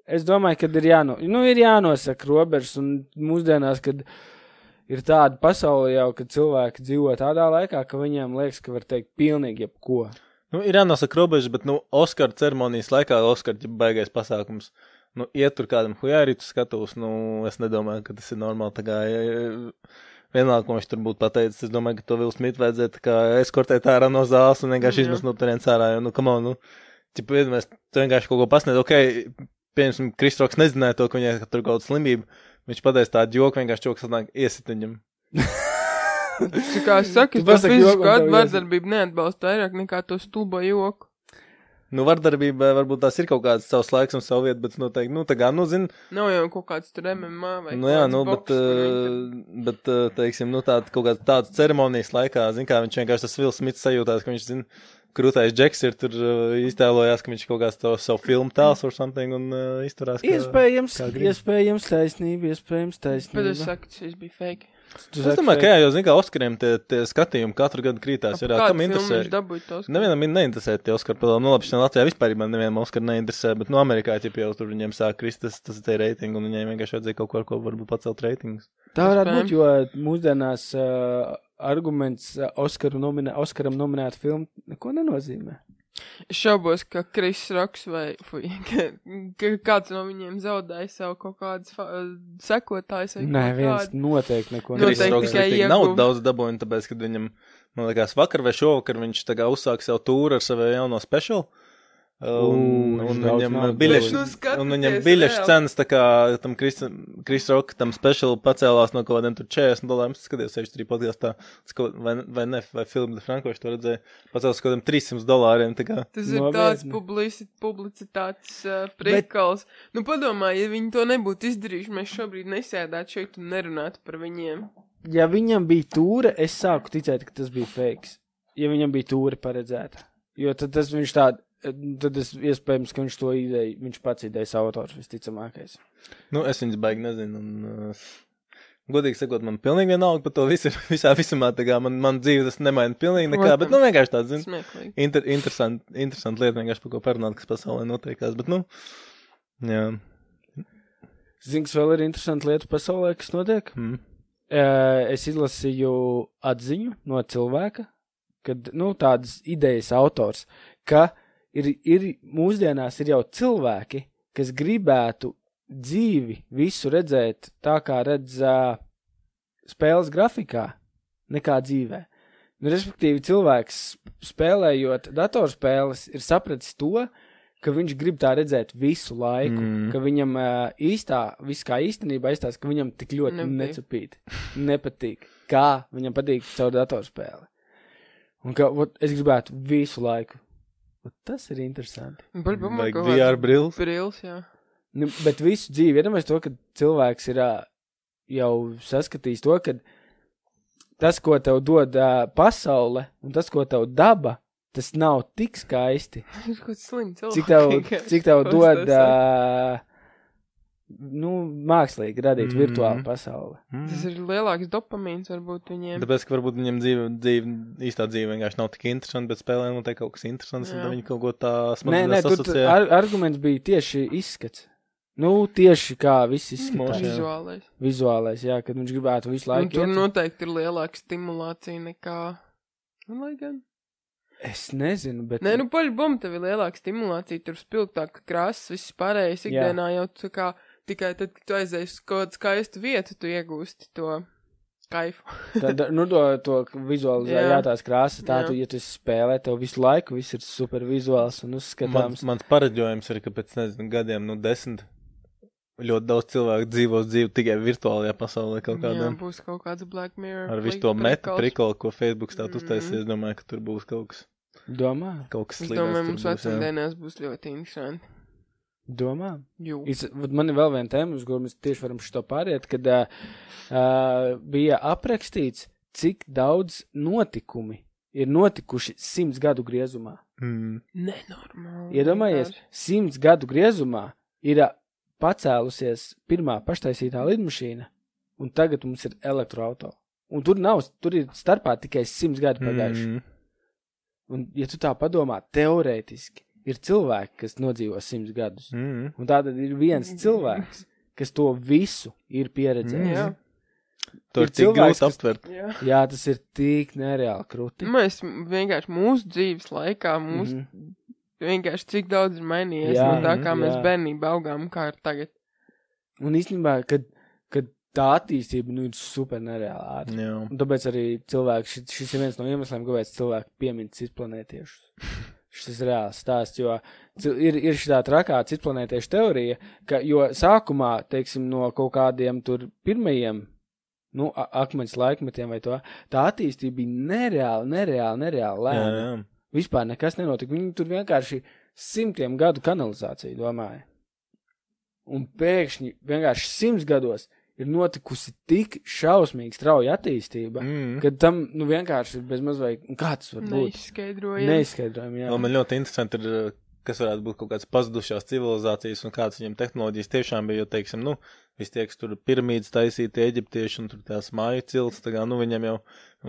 Es domāju, ka ir, jāno, nu, ir jānosaka robežas, un mūsdienās, kad ir tāda pasaule jau, ka cilvēki dzīvo tādā laikā, ka viņiem liekas, ka var teikt pilnīgi jebko. nu, ir jānosaka robežas, bet, nu, Oskara ceremonijas laikā, Oskara ir baigais pasākums. Nu, iet tur kādam huijārītu skatos, nu, es nedomāju, ka tas ir normāli. Tā kā, ja, vienalga, ko viņš tur būtu pateicis, es domāju, ka to Vils Smits vajadzētu tā kā eskortēt ārā no zāles un vienkārši Jā. izmest no turienes ārā. Jo, nu, kam nu, tipu, iedomājies, tu vienkārši kaut ko pasniedz, ok, piemēram, Kristoks nezināja to, ka viņai ka tur kaut kāda slimība. Viņš pateica tādu joku, vienkārši čoks atnāk iesit viņam. Tā kā es saku, Tu es to pasaki joku, un fizisku tev at- ies- vardarbību neatbalstu vairāk nekā to stulbo joku. Nu, vardarbība, varbūt tās ir kaut kāds savs laiks un savu vietu, bet noteikti, nu, tā kā, nu, zin, Nav jau kaut kāds tur MMA vai Nu, jā, kāds nu, boks, bet, kur viņi uh, bet uh, teiksim, nu, tāda kaut kāda tāda ceremonijas laikā, zin, kā viņš vienkārši tas Vils Smits sajūtās, ka viņš, zin, krūtais džeks ir tur uh, iztēlojās, ka viņš kaut kāds to savu filmu tēls or something un uh, izturās. ka- Iespējams, kā grib. iespējams, taisnība, iespējams, tur- Bet es taisnība. saku, tas viss bija fake. Tu Es saki, domāju, ka- ka jā, jo, zin, kā Oskariem tie, tie skatījumi katru gadu krītās, ir, Ap ā, kādu kam filmu interesē. Viņš dabūja tos. Nevienam ir neinteresē tie Oskari padomu. Nu, labi, šeit Latvijā vispār man nevienam Oskari neinteresē, bet, nu, Amerikā, ja jau tur viņiem sāk krist, tas, tas ir tie reitingi, un viņiem vienkārši vajadzēja kaut ko, ar ko varbūt pacelt reitingus. Tā varētu Iespējams. būt, jo mūsdienās uh, arguments uh, Oskaru nominē, Oskaram nominēt filmu neko nenozīmē. Es šaubos, ka Kris Roks vai fuj, ka, ka kāds no viņiem zaudēja savu kaut kādas uh, sekotājus. Nē, viens noteikti neko Noteikti Kristus nenozīmē. Roks tikai arī ieguv- naudu daudz dabūja, un tāpēc, kad viņam, man liekas, vakar vai šovakar viņš tā kā uzsāka savu tūru ar savu jauno specialu. Un, Ū, viņš un, daudz viņam naudas biļešu, dabūja. Tieši nu un viņam skaties, biļešu reāli. cenas tā kā tam Krisrokam speciāli pacēlās no kaut kādiem tur 40 dolāriem. Es skatījos 63 podkāstā, vai, vai ne, vai filmu de Franko, es to redzēju, pacēlās kaut kādiem 300 dolāriem. tā kā. Tas ir Novēzni. tāds publici- publicitātes uh, priekals. Bet... Nu, padomā, ja viņi to nebūtu izdarījuši, mēs šobrīd nesēdētu šeit un nerunātu par viņiem. Ja viņam bija tūre, es sāku ticēt, ka tas bija fake. Ja viņam bija tūre paredzēta. Jo tad tas viņš tād, tad es iespējams, ka viņš to ideju, viņš pats idejas autors visticamākais. Nu, es viņas baigi nezinu. Un, uh, godīgi sakot, man pilnīgi vienalga par to visu, visā visumā. tā kā Man, man dzīve tas nemaina pilnīgi nekā, bet, nu, vienkārši tāds, zinu. Smieklīgi. Inter, interesanti, interesanti lieta, vienkārši par ko parunāt, kas pasaulē notiekās. Bet, nu, jā. Zini, kas vēl ir interesanti lietu pasaulē, kas notiek? Mm. Ē, Э, Es izlasīju atziņu no cilvēka, kad nu, tādas idejas autors, ka ir, ir mūsdienās ir jau cilvēki, kas gribētu dzīvi visu redzēt tā, kā redz ā, spēles grafikā, nekā dzīvē. Nu, respektīvi, cilvēks spēlējot datorspēles, ir sapratis to, ka viņš grib tā redzēt visu laiku Mm. ka viņam ā, īstā, viss kā īstenībā izstāsta, ka viņam tik ļoti Nepatīk. necupīti, nepatīk, kā viņam patīk caur datorspēli. Un ka ot, es gribētu visu laiku. Ot, tas ir interesanti. Vajag VR brilles. Brīls, jā. Nu, bet visu dzīvi iedomājos to, ka cilvēks ir ā, jau saskatījis to, ka tas, ko tev dod ā, pasaule, un tas, ko tev daba, tas nav tik skaisti. Ir kaut kas slims. Cik tev, cik tev Ko es dod tā ā, nu, mākslīgi radīt Mhm. virtuālu pasauli? Tas ir lielāks dopamīns varbūt viņiem. Mm. Tāpēc, ka varbūt viņam dzīve, dzīve, īstā dzīve vienkārši nav tik interesanta, bet spēlē notiek kaut kas interesants, un Jā. tad viņi kaut ko tā Nē, nē, smadzenēs tur tu- asociē. ar, arguments bija tieši izskats. Nu, tieši kā Mm, viss Motion. izskatās. jā. Vizuālais. Vizuālais, jā, kad viņš gribētu visu Un laiku. Nu, tur iet- noteikti ir lielāka stimulācija nekā. Nu, lai gan. Es nezinu, bet. Nē, nu, paļbom, tev ir lielāka stimulācija, tur spilgtāka krāsa, viss pārējais Jā. ikdienā jau tā kā tikai tad, kad tu aizies uz kaut kādu skaistu vietu, tu iegūsti to kaifu. tā, tā, nu to, to Jā. vizualizētās krāsas, tā Jā. tu, ja tu esi spēlē, tev visu laiku viss ir super vizuāls un Mans, uzskatāms. mans pareģojums ir, ka pēc nezinu, gadiem, nu, desmit ļoti daudz cilvēku dzīvos dzīvi tikai virtuālajā pasaulē kaut Jā, kādam. būs kaut kāds Black Mirror. Ar visu plik- to metu prikals. prikolu, ko Facebook Mhm. stāv uztaisīja, es domāju, ka tur būs kaut kas, Domā, kaut kas Es slikts. domāju, mums vecumdienās būs ļoti interesanti. domā. Jū. Es, vat man ir vēl viena tēma, uz kuru mēs tieši varam šo pāriet, kad uh, bija aprakstīts, cik daudz notikumi ir notikuši simts gadu griezumā. Mm. Nenormāli. Iedomājies, simts gadu griezumā ir ā, pacēlusies pirmā paštaisītā lidmašīna, un tagad mums ir elektroautorāts. Un tur nav, tur ir starpā tikai simts gadi pagājuši. Mm. Mm. Un, ja tu tā padomā, teorētiski ir cilvēki, kas nodzīvo simts gadus. Mm. Mm. Un tā tad ir viens cilvēks, kas to visu ir Mm. pieredzējis. Jā. Mm. Tur Ir ir tik cilvēks, grūti kas- aptvert. Jā. Jā, tas ir tik nereāli krūti. Mēs vienkārši mūsu dzīves laikā, mūsu mm -hmm. vienkārši cik daudz ir mainījies jā, Mhm. Jā, no tā, kā jā. mhm, mēs jā. bērnībā augām, kā ir tagad. Un īstenībā, kad, kad tā attīstība nu, ir super nereāli ātra. Jā. Un tāpēc arī cilvēks, šis, šis ir viens no iemesliem, kāpēc cilvēki piemin citplanētiešus. Šis ir reāls stāsts, jo cil- ir, ir šī tā trakā citplanētiešu teorija, ka jo sākumā, teiksim, no kaut kādiem tur pirmajiem, nu, a- akmens laikmetiem vai to, tā attīstība bija nereāli, nereāli, Jā, nereāli lēna. jā. Vispār nekas nenotika. Viņi tur vienkārši simtiem gadu kanalizāciju domāja. Un pēkšņi vienkārši simts gados ir notikusi tik šausmīga, strauja attīstība, mm. Hm? Mm. ka tam nu, vienkārši ir bezmazliet, kā tas var būt. Neizskaidrojami. Neizskaidrojami, jā. Vēl Nu, man ļoti interesanti ir, kas varētu būt kaut kādas pazudušās civilizācijas un kādas viņam tehnoloģijas tiešām bija. Jo, teiksim, nu, visi tie, kas tur piramīdas taisīja, tie eģiptieši un tur tās māju cilts, tā kā, nu, viņam jau,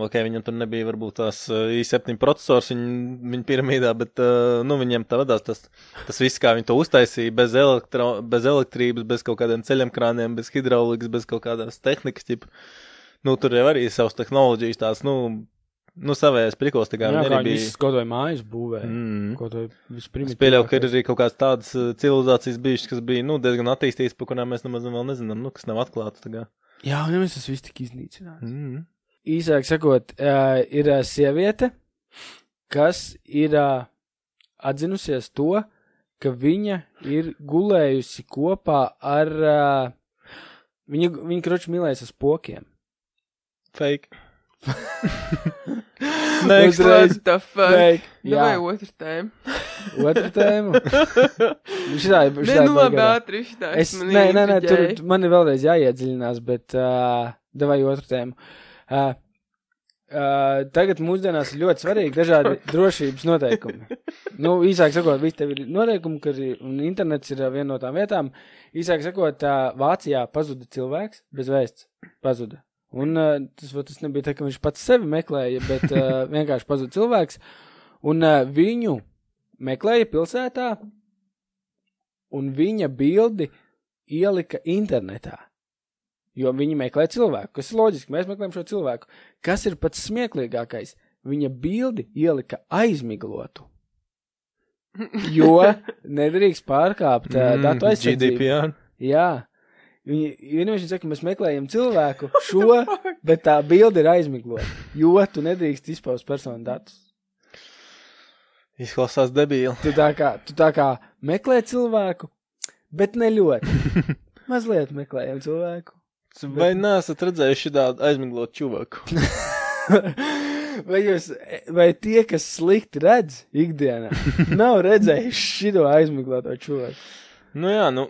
ok, viņam tur nebija varbūt tās uh, i7 procesors viņa, viņa piramīdā, bet, uh, nu, viņiem tā vadās tas, tas viss, kā viņi to uztaisīja, bez, elektro, bez elektrības, bez kaut kādiem ceļamkrāniem, bez hidraulikas, bez kaut kādas tehnikas, tip. Nu, tur jau arī savas tehnoloģijas tās, nu, nu savējais prikos, tā kā jā, viņi kā arī viņi bija. visu kaut vai mājas būvēja. Mm. Mm. Ko to vispirms Es pieļauju, ka ir arī kaut kādas tādas uh, civilizācijas bijušas, kas bija nu, diezgan attīstītas, par kurām mēs nemaz vēl nezinām, nu, kas nav atklātas. tā kā. Jā, un mēs tas viss tik iznīcinājām. Mm. īsāk sakot, ā, ir ā, sieviete, kas ir ā, atzinusies to, ka viņa ir gulējusi kopā ar. ā, Viņa, viņa kroķis mīlēs uz pokiem. Fake. Next Next What the fuck? Veik, Nu, vai jā, otrs tēma? otra tēma. Šitā, Nē, šitā nu labi, ātri šitā. Es, nē, nē, nē, tur man ir vēlreiz jāiedziļinās, bet uh, davai otru tēmu. Uh, Uh, tagad mūsdienās ir ļoti svarīgi dažādi drošības noteikumi. Nu, īsāk sakot, visi tev ir noteikumi, kur ir, un internets ir uh, viena no tām vietām. Īsāk sakot, uh, Vācijā pazuda cilvēks bez vēsts. Pazuda. Un uh, tas, va, tas nebija tā, ka viņš pats sevi meklēja, bet uh, vienkārši pazuda cilvēks. Un uh, viņu meklēja pilsētā, un viņa bildi ielika internetā. Jo viņi meklē cilvēku, kas ir loģiski, mēs meklējam šo cilvēku. Kas ir pats smieklīgākais? Viņa bildi ielika aizmiglotu. Jo nedrīkst pārkāpt mm, datu aizsardzību. GDPR. Jā, viņi vienkārši saka, mēs meklējam cilvēku šo, bet tā bilde ir aizmiglota. Jo tu nedrīkst izpaust personu datus. Izklausās debīli. Tu tā kā, tu tā kā meklē cilvēku, bet ne ļoti. Mazliet meklējam cilvēku. Vai neesat redzējuši tādu aizmiglotu čuvaku? Vai, jūs, vai tie, kas slikti redz ikdienā, nav redzējuši šo aizmigloto cilvēku? nu jā, nu,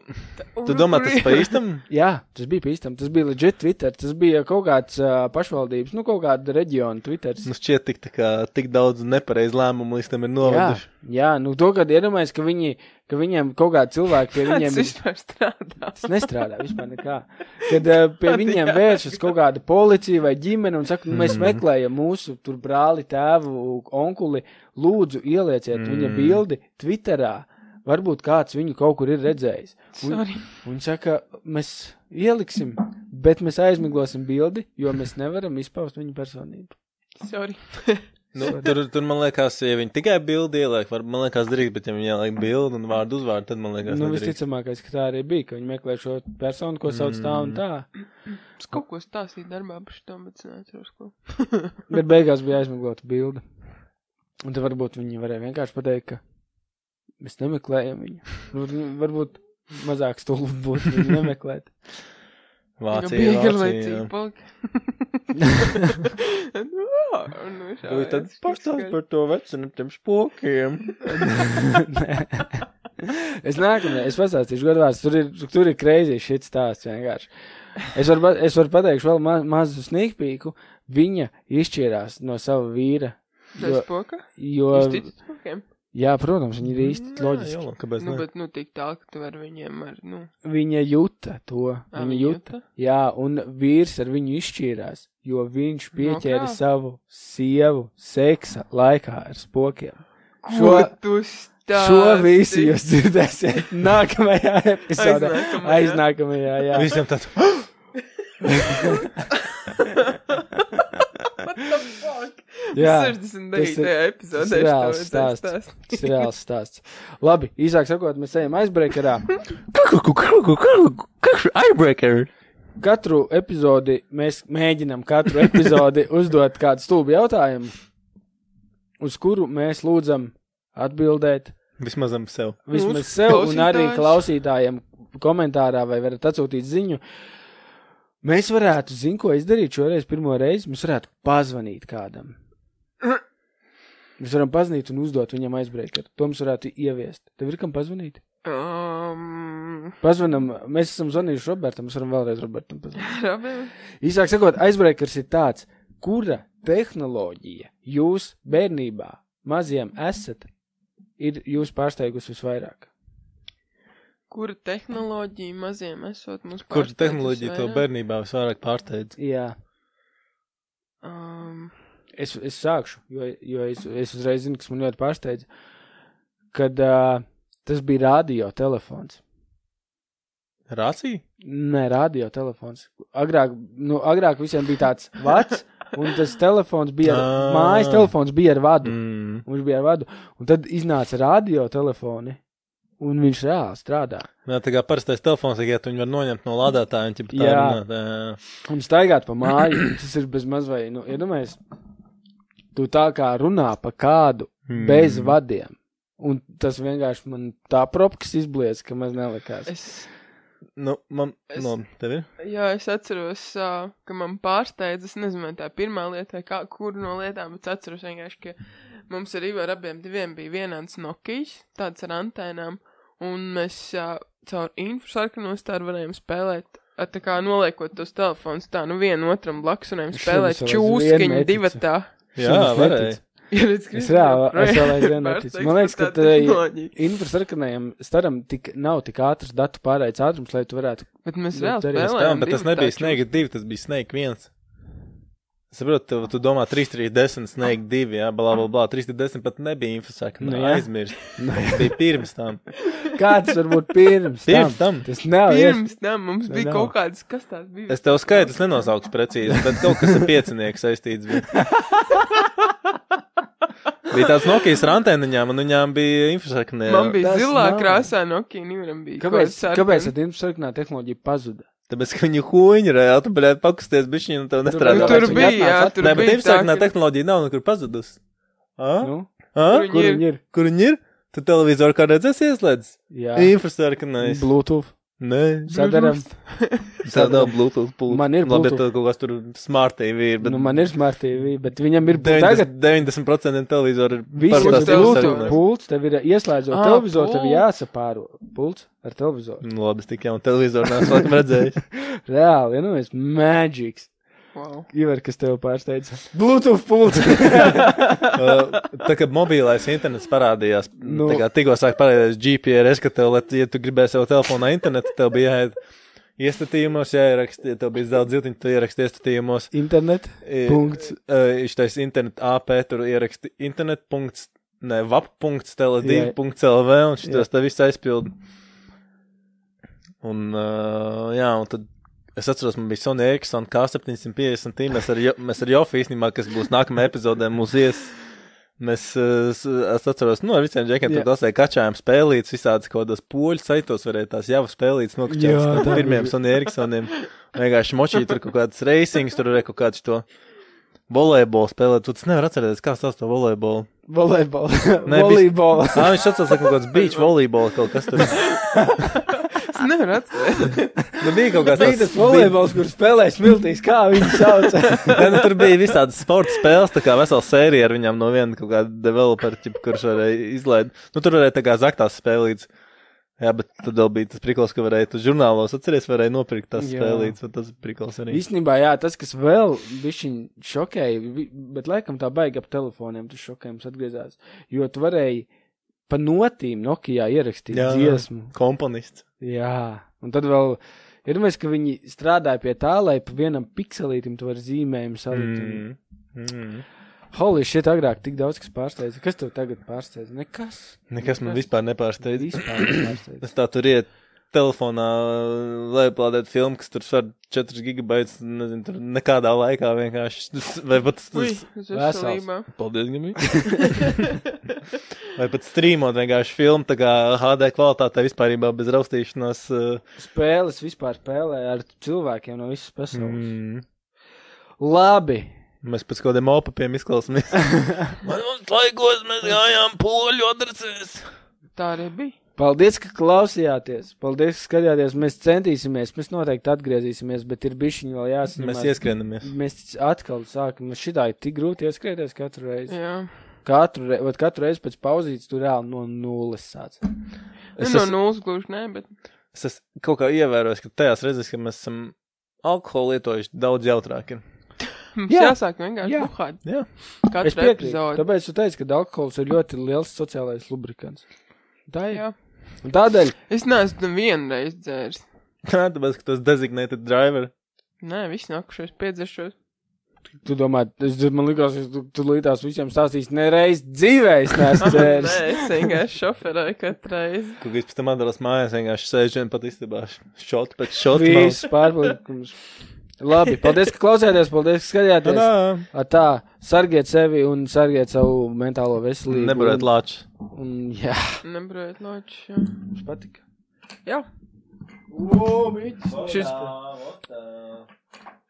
tu domā, tas pa īstam? Jā, tas bija pīstam, tas bija leģit Twitter, tas bija kaut kāds uh, pašvaldības, nu kaut kāda reģiona Twitter. Nu, šķiet, tik, tā kā, tik daudz nepareizu lēmumu līdz tam ir Jā, noveduši. jā, nu to gadu iedomājos, ka, viņi, ka viņiem kaut kāda cilvēka pie Viņiem viņiem ir- Uhuh. vispār strādā. tas nestrādā vispār nekā. Kad uh, pie viņiem vēršas kaut kāda policija vai ģimene un saka, nu, mēs Mhm. meklējam mūsu tur brāli, tēvu, onkuli, lūdzu ielieciet Mm. viņa bildi Twitterā. Varbūt kāds viņu kaut kur ir redzējis. Un, Sorry. un saka, mēs ieliksim, bet mēs aizmiglosim bildi, jo mēs nevaram izpaust viņa personību. Sorry. Nu, tur, tur, man liekas, ja viņi tikai bildi ieliek, var, man liekas, drīz, bet ja viņi ieliek bildi un vārdu uzvārdu, tad man liekas, Nu, nedrīkst. visticamākais, ka tā arī bija, ka viņi meklē šo personu, ko sauc tā un tā. Es kaut ko stāstīju darbā par šo, bet es neatceros, ko. Bet beigās bija aizmiglota bilde. Un tad varbūt viņi varēja vienkārši pateikt, ka mēs nemeklējam viņu. Varbūt- Varbūt mazāk stulbi būtu viņu nemeklēt. Vācija, Vācija. Nu, Vācija. Vai tad pastāst par to vecinu tiem spokiem? Nē. es nākamajā, es pastāstīšu godvārds, tur ir, tur ir kreizī šis stāsts vienkārši. Es varu, pa- es varu pateikt vēl ma mazu snikpīku, viņa izšķirās no sava vīra. Tas Jo, poka? Jūs jo, ticat pokiem? jā, protams, viņa ir Mm, īsti loģiski. Jā, kāpēc Nu, ne? bet nu tik tā, ka tu ar viņiem ar, nu. Viņa juta to. Ā, Viņa viņa juta. juta? Jā, un vīrs ar viņu izšķīrās, jo viņš pieķēra kā? savu sievu seksa laikā ar spokiem. Šo, Ko tu stāsti? šo visu jūs dzirdēsiet nākamajā epizodē. Aiznākamajā. Aiznākamajā, jā. Visiem tāds. Jā, Jā, tas 69. ir- epizodē. tas ir es tev reāls vajadzēju stāsts. stāstīt. Tas ir reāls stāsts. Labi, īsāk sakot, mēs ejam aizbreakerā. Kakšu eyebreaker! Katru epizodi mēs mēģinam katru epizodi uzdot kādu stulbu jautājumu, uz kuru mēs lūdzam atbildēt Vismaz am sev. vismaz Lūdzu, sev un arī klausītājs. klausītājiem komentārā, vai varat atsūtīt ziņu. Mēs varētu, zinu, ko izdarīt šoreiz, pirmo reizi. Mēs varētu pazvanīt kādam. Mēs varam pazvanīt un uzdot viņam aizbraukt. To mums varētu ieviest. Tev ir kam pazvanīt? Um, Pazvanam, mēs esam zvanījuši Robertam, mēs varam vēlreiz Robertam pazvanīt. Robin, Īsāk sakot, aizbraukers ir tāds, kura tehnoloģija jūs bērnībā maziem esat, ir jūs pārsteigusi visvairāk. kura tehnoloģija maziem esot mums Kur tehnoloģija to bērnībā visvairāk pārsteidz? Jā. Um, es, es sākšu, jo, jo es, es uzreiz zinu, kas man ļoti pārsteidza, kad uh, tas bija radiotelefons. Rācija? Nē, radiotelefons. Agrāk, nu, agrāk visiem bija tāds vats, un tas telefons bija, ar, Ā. mājas telefons bija ar vadu. Mm. Viņš bija ar vadu, un tad iznāca radiotelefoni, un viņš reāli strādā. Jā, tā kā parastais telefons, ja tu viņu var noņemt no lādētāja, un ķip tā Jā. runāt. jā. Un staigāt pa māju, tas ir bezmaz vai, nu, iedomājies, tu tā kā runā pa kādu Mm. bez vadiem. Un tas vienkārši man tā propkas izblies, ka man nelikās. es, Nu, man, Es- no, tev ir? jā, es atceros, uh, ka man pārsteidz, es nezinu, vai tā ir pirmā lieta, vai kā, kur no lietām, bet es atceros vienkārši, ka mums arī ar abiem diviem bija vienāds Nokijs, tāds ar antēnām, un mēs uh, caur infrasarkanu stāru varējām spēlēt. ar Tā kā noliekot tos telefonus, tā nu vienu otram blakus, un viņam Es spēlēt šodien savā ziņā čūskiņu neticu. divi tā. Jā, Šim es varēja. neticu. Ja redz, Es Kristian, reāli, es projām vēl aizvien ir neticu. Man liekas, ka pārsteigts par tādu tai tehnoloģiju. infrasarkanajam staram tik, nav tik ātrs datu pārējais ātrums, lai tu varētu. Bet mēs Bet reāli arī Spēlēm, spēlējām. bet tas nebija Snake 2, tas bija Snake 1. Saprotu, tu, tu domā 3, 3, 10, sniegt 2, jā, bla, bla, bla. 3, 10 pat nebija infosaka. Nu Nu, jā. aizmirst. Tas bija pirms tam. Kāds varbūt pirms Pirms tam. tam? Tas nav iespējams. Pirms tam mums Vai bija nav? kaut kādas, kas tās bija. Es tev skaitu, es nenosaukšu precīzi, bet kaut kas ar piecinieku saistīts bija. bija tāds Nokijas rantēniņām, un viņām bija nu, infosaka. ne- Man bija Tas zilā nav. krāsā, no kuras bija. Kāpēc, kaut kas kāpēc sarkans. tad jums sarkanā tehnoloģija pazuda? Tāpēc, ka viņu huīņi reāli, tu blēdi pakusties bišķiņu, un tev Nu, nestrādā. Tur Kāpēc viņi bija, jā, atnāca? tur Nē, bija. bet tā, infosaka ka- tehnoloģija nav nekur pazudusi. A? Nu, A? Viņi kur ir- viņi ir? Kur viņi ir? Tu televizoru kā redzēsi ieslēdz? Jā, Infosarkanais. Bluetooth. Nē, Sadarām. tādā Bluetooth pultā. Man ir Labi, Bluetooth. tad kaut kas tur smart TV ir. Bet... Nu, man ir smart TV, bet viņam ir būt tagad. 90, 90% televizoru ir Viss ir parastās Bluetooth televizoru. pults, tev ir ieslēdzot Ā, televizoru, tev Ah, pults. ir jāsapāro pults ar televizoru. Nu, labi, es tik jau televizoru neesmu laikam redzējis. Reāli, ja nu es magics. Wow. Ivar, kas tev pārsteidza? Bluetooth pults. Uh, tā kā mobilais internets parādījās, Nu. nu. tā kā tikko sāk parādīties GPRS, ka tev, lai- ja tu gribēji savu telefonu internetu, tev bija jāiet iestatījumos, jāieraksta, ja tev bija zelta ziltiņa, tu ieraksti iestatījumos. Internet. I- Punkts. Uh, Šitais internet AP, tur ieraksti internet. Punkts, ne, vap.tele2.lv un šitas tev viss aizpild. Un, uh, jā, un tad. Es atceros, man bija Sonja Eriksona K750. tī, Mēs ar, Jo- mēs ar Jofu īstenībā, kas būs nākamajā epizodē, mūs ies. Mēs, uh, s- es atceros, nu, ar visiem džekiem Jā. tur klasē kačājām spēlītas, visādas kaut kādas poļu saitos varēja tās jau spēlītas Jā, nokačāt tā pirmiem bija. Sonja Eriksoniem. Vienkārši močīja tur kaut kādas racings, tur bija kaut kāds to volejbolu spēlēt. Tu tas nevar atcerēties, kā sauc to volejbolu. Volejbols. Nē, bija- Volejbols. Jā, viņš atcels kaut kāds beach volejbols kaut kas tur. Nu, Es nevaru atcerēties. bija kaut kāds Bija tas volejbols, kur spēlēja smiltīs, kā viņi sauc. Nē, nu, tur bija visādas sporta spēles, tā kā vesela sērija ar viņiem no viena kaut kāda developera, ķip, kurš varēja izlaid. Nu, tur varēja tā kā zaktās spēlītas. Jā, bet tad vēl bija tas priklis, ka varēja tu žurnālos atceries, varēja nopirkt tās Jā. spēlītas, bet tas priklis arī. Īstenībā, jā, tas, kas vēl bija šokēja, vi- bet laikam tā baigta ap telefoniem, tas šokējums atgriezās. Jo tu varēji pa notīm Nokijā ierakstīt jā. Jā. nu, dziesmu. Komponists. Jā, un tad vēl ir mēs, ka viņi strādāja pie tā, lai pa vienam pikselītam tu vari zīmējumu salikt. Mm. Mm. Mm. Holy shit, agrāk tik daudz kas pārsteidza. Kas tev tagad pārsteidza? Nekas. Nekas man vispār nepārsteidz. Vispār nepārsteidza. Es tā tur iet telefonā, lai plādētu filmu, kas tur svar 4 gigabaitus, nezinu, tur nekādā laikā vienkārši. Tas- Vai pat, Ui, s- es Vesels. veselībā. paldies, Gami. Vai pat streamot vienkārši filmu, tā kā HD kvalitātē vispārībā bez raustīšanās. uh, Spēles vispār spēlē ar cilvēkiem no visas pasaules. Mm. Mm. Labi. Mēs pēc kaut kādiem opapiem izklausāmies. Manos laikos mēs gājām poļu adresēs. Tā arī bija. Paldies, ka klausījāties. Paldies, ka skatījāties. Mēs centīsimies, mēs noteikti atgriezīsimies, bet ir bišķiņi vēl jāsaņem. Mēs ieskrienamies. Mēs atkal sākam. Mēs šitā ir tik grūti ieskrieties katru reizi. Jā. Katru, re... vat katru reizi pēc pauzītes tur reāli no nulles sāc. Es Nu, no nulles gluži nē, bet. es esmu kaut kā ievērojis, ka tajās reizēs, kad mēs esam alkoholu lietojuši, daudz jautrāk ir. Mums Jā. jāsāk vienkārši Jā. buhāt. Jā. Es Katru piekrītu. epizodu. Tāpēc tu teici, ka alkohols ir ļoti liels sociālais lubrikants. Tā ir. Jā. Un Tādēļ Es neesmu nevienu reizi dzēris. Nē, tāpēc, ka tas designated driver. Nē, viss nākušais piedzeršos. tu domā, es, man likās, ka tu, tu līdās visiem stāstīsi nereiz dzīvē, es neesmu Nē, dzēris. es vienkārši šoferēju katru reizi. Kaut kas pēc tam atdarās mājās, vienkārši sēž vien pat istībā. Šot pēc šot. Viss pārpildījums. Labi, paldies, ka klausījāties, paldies, ka skatījāties. Tā, Ar tā, sargiet sevi un sargiet savu mentālo veselību. nebarēt lāču. Un, un, jā, Nebrojot loči. mums patika. Jā. O, mītis! Šis. Tā,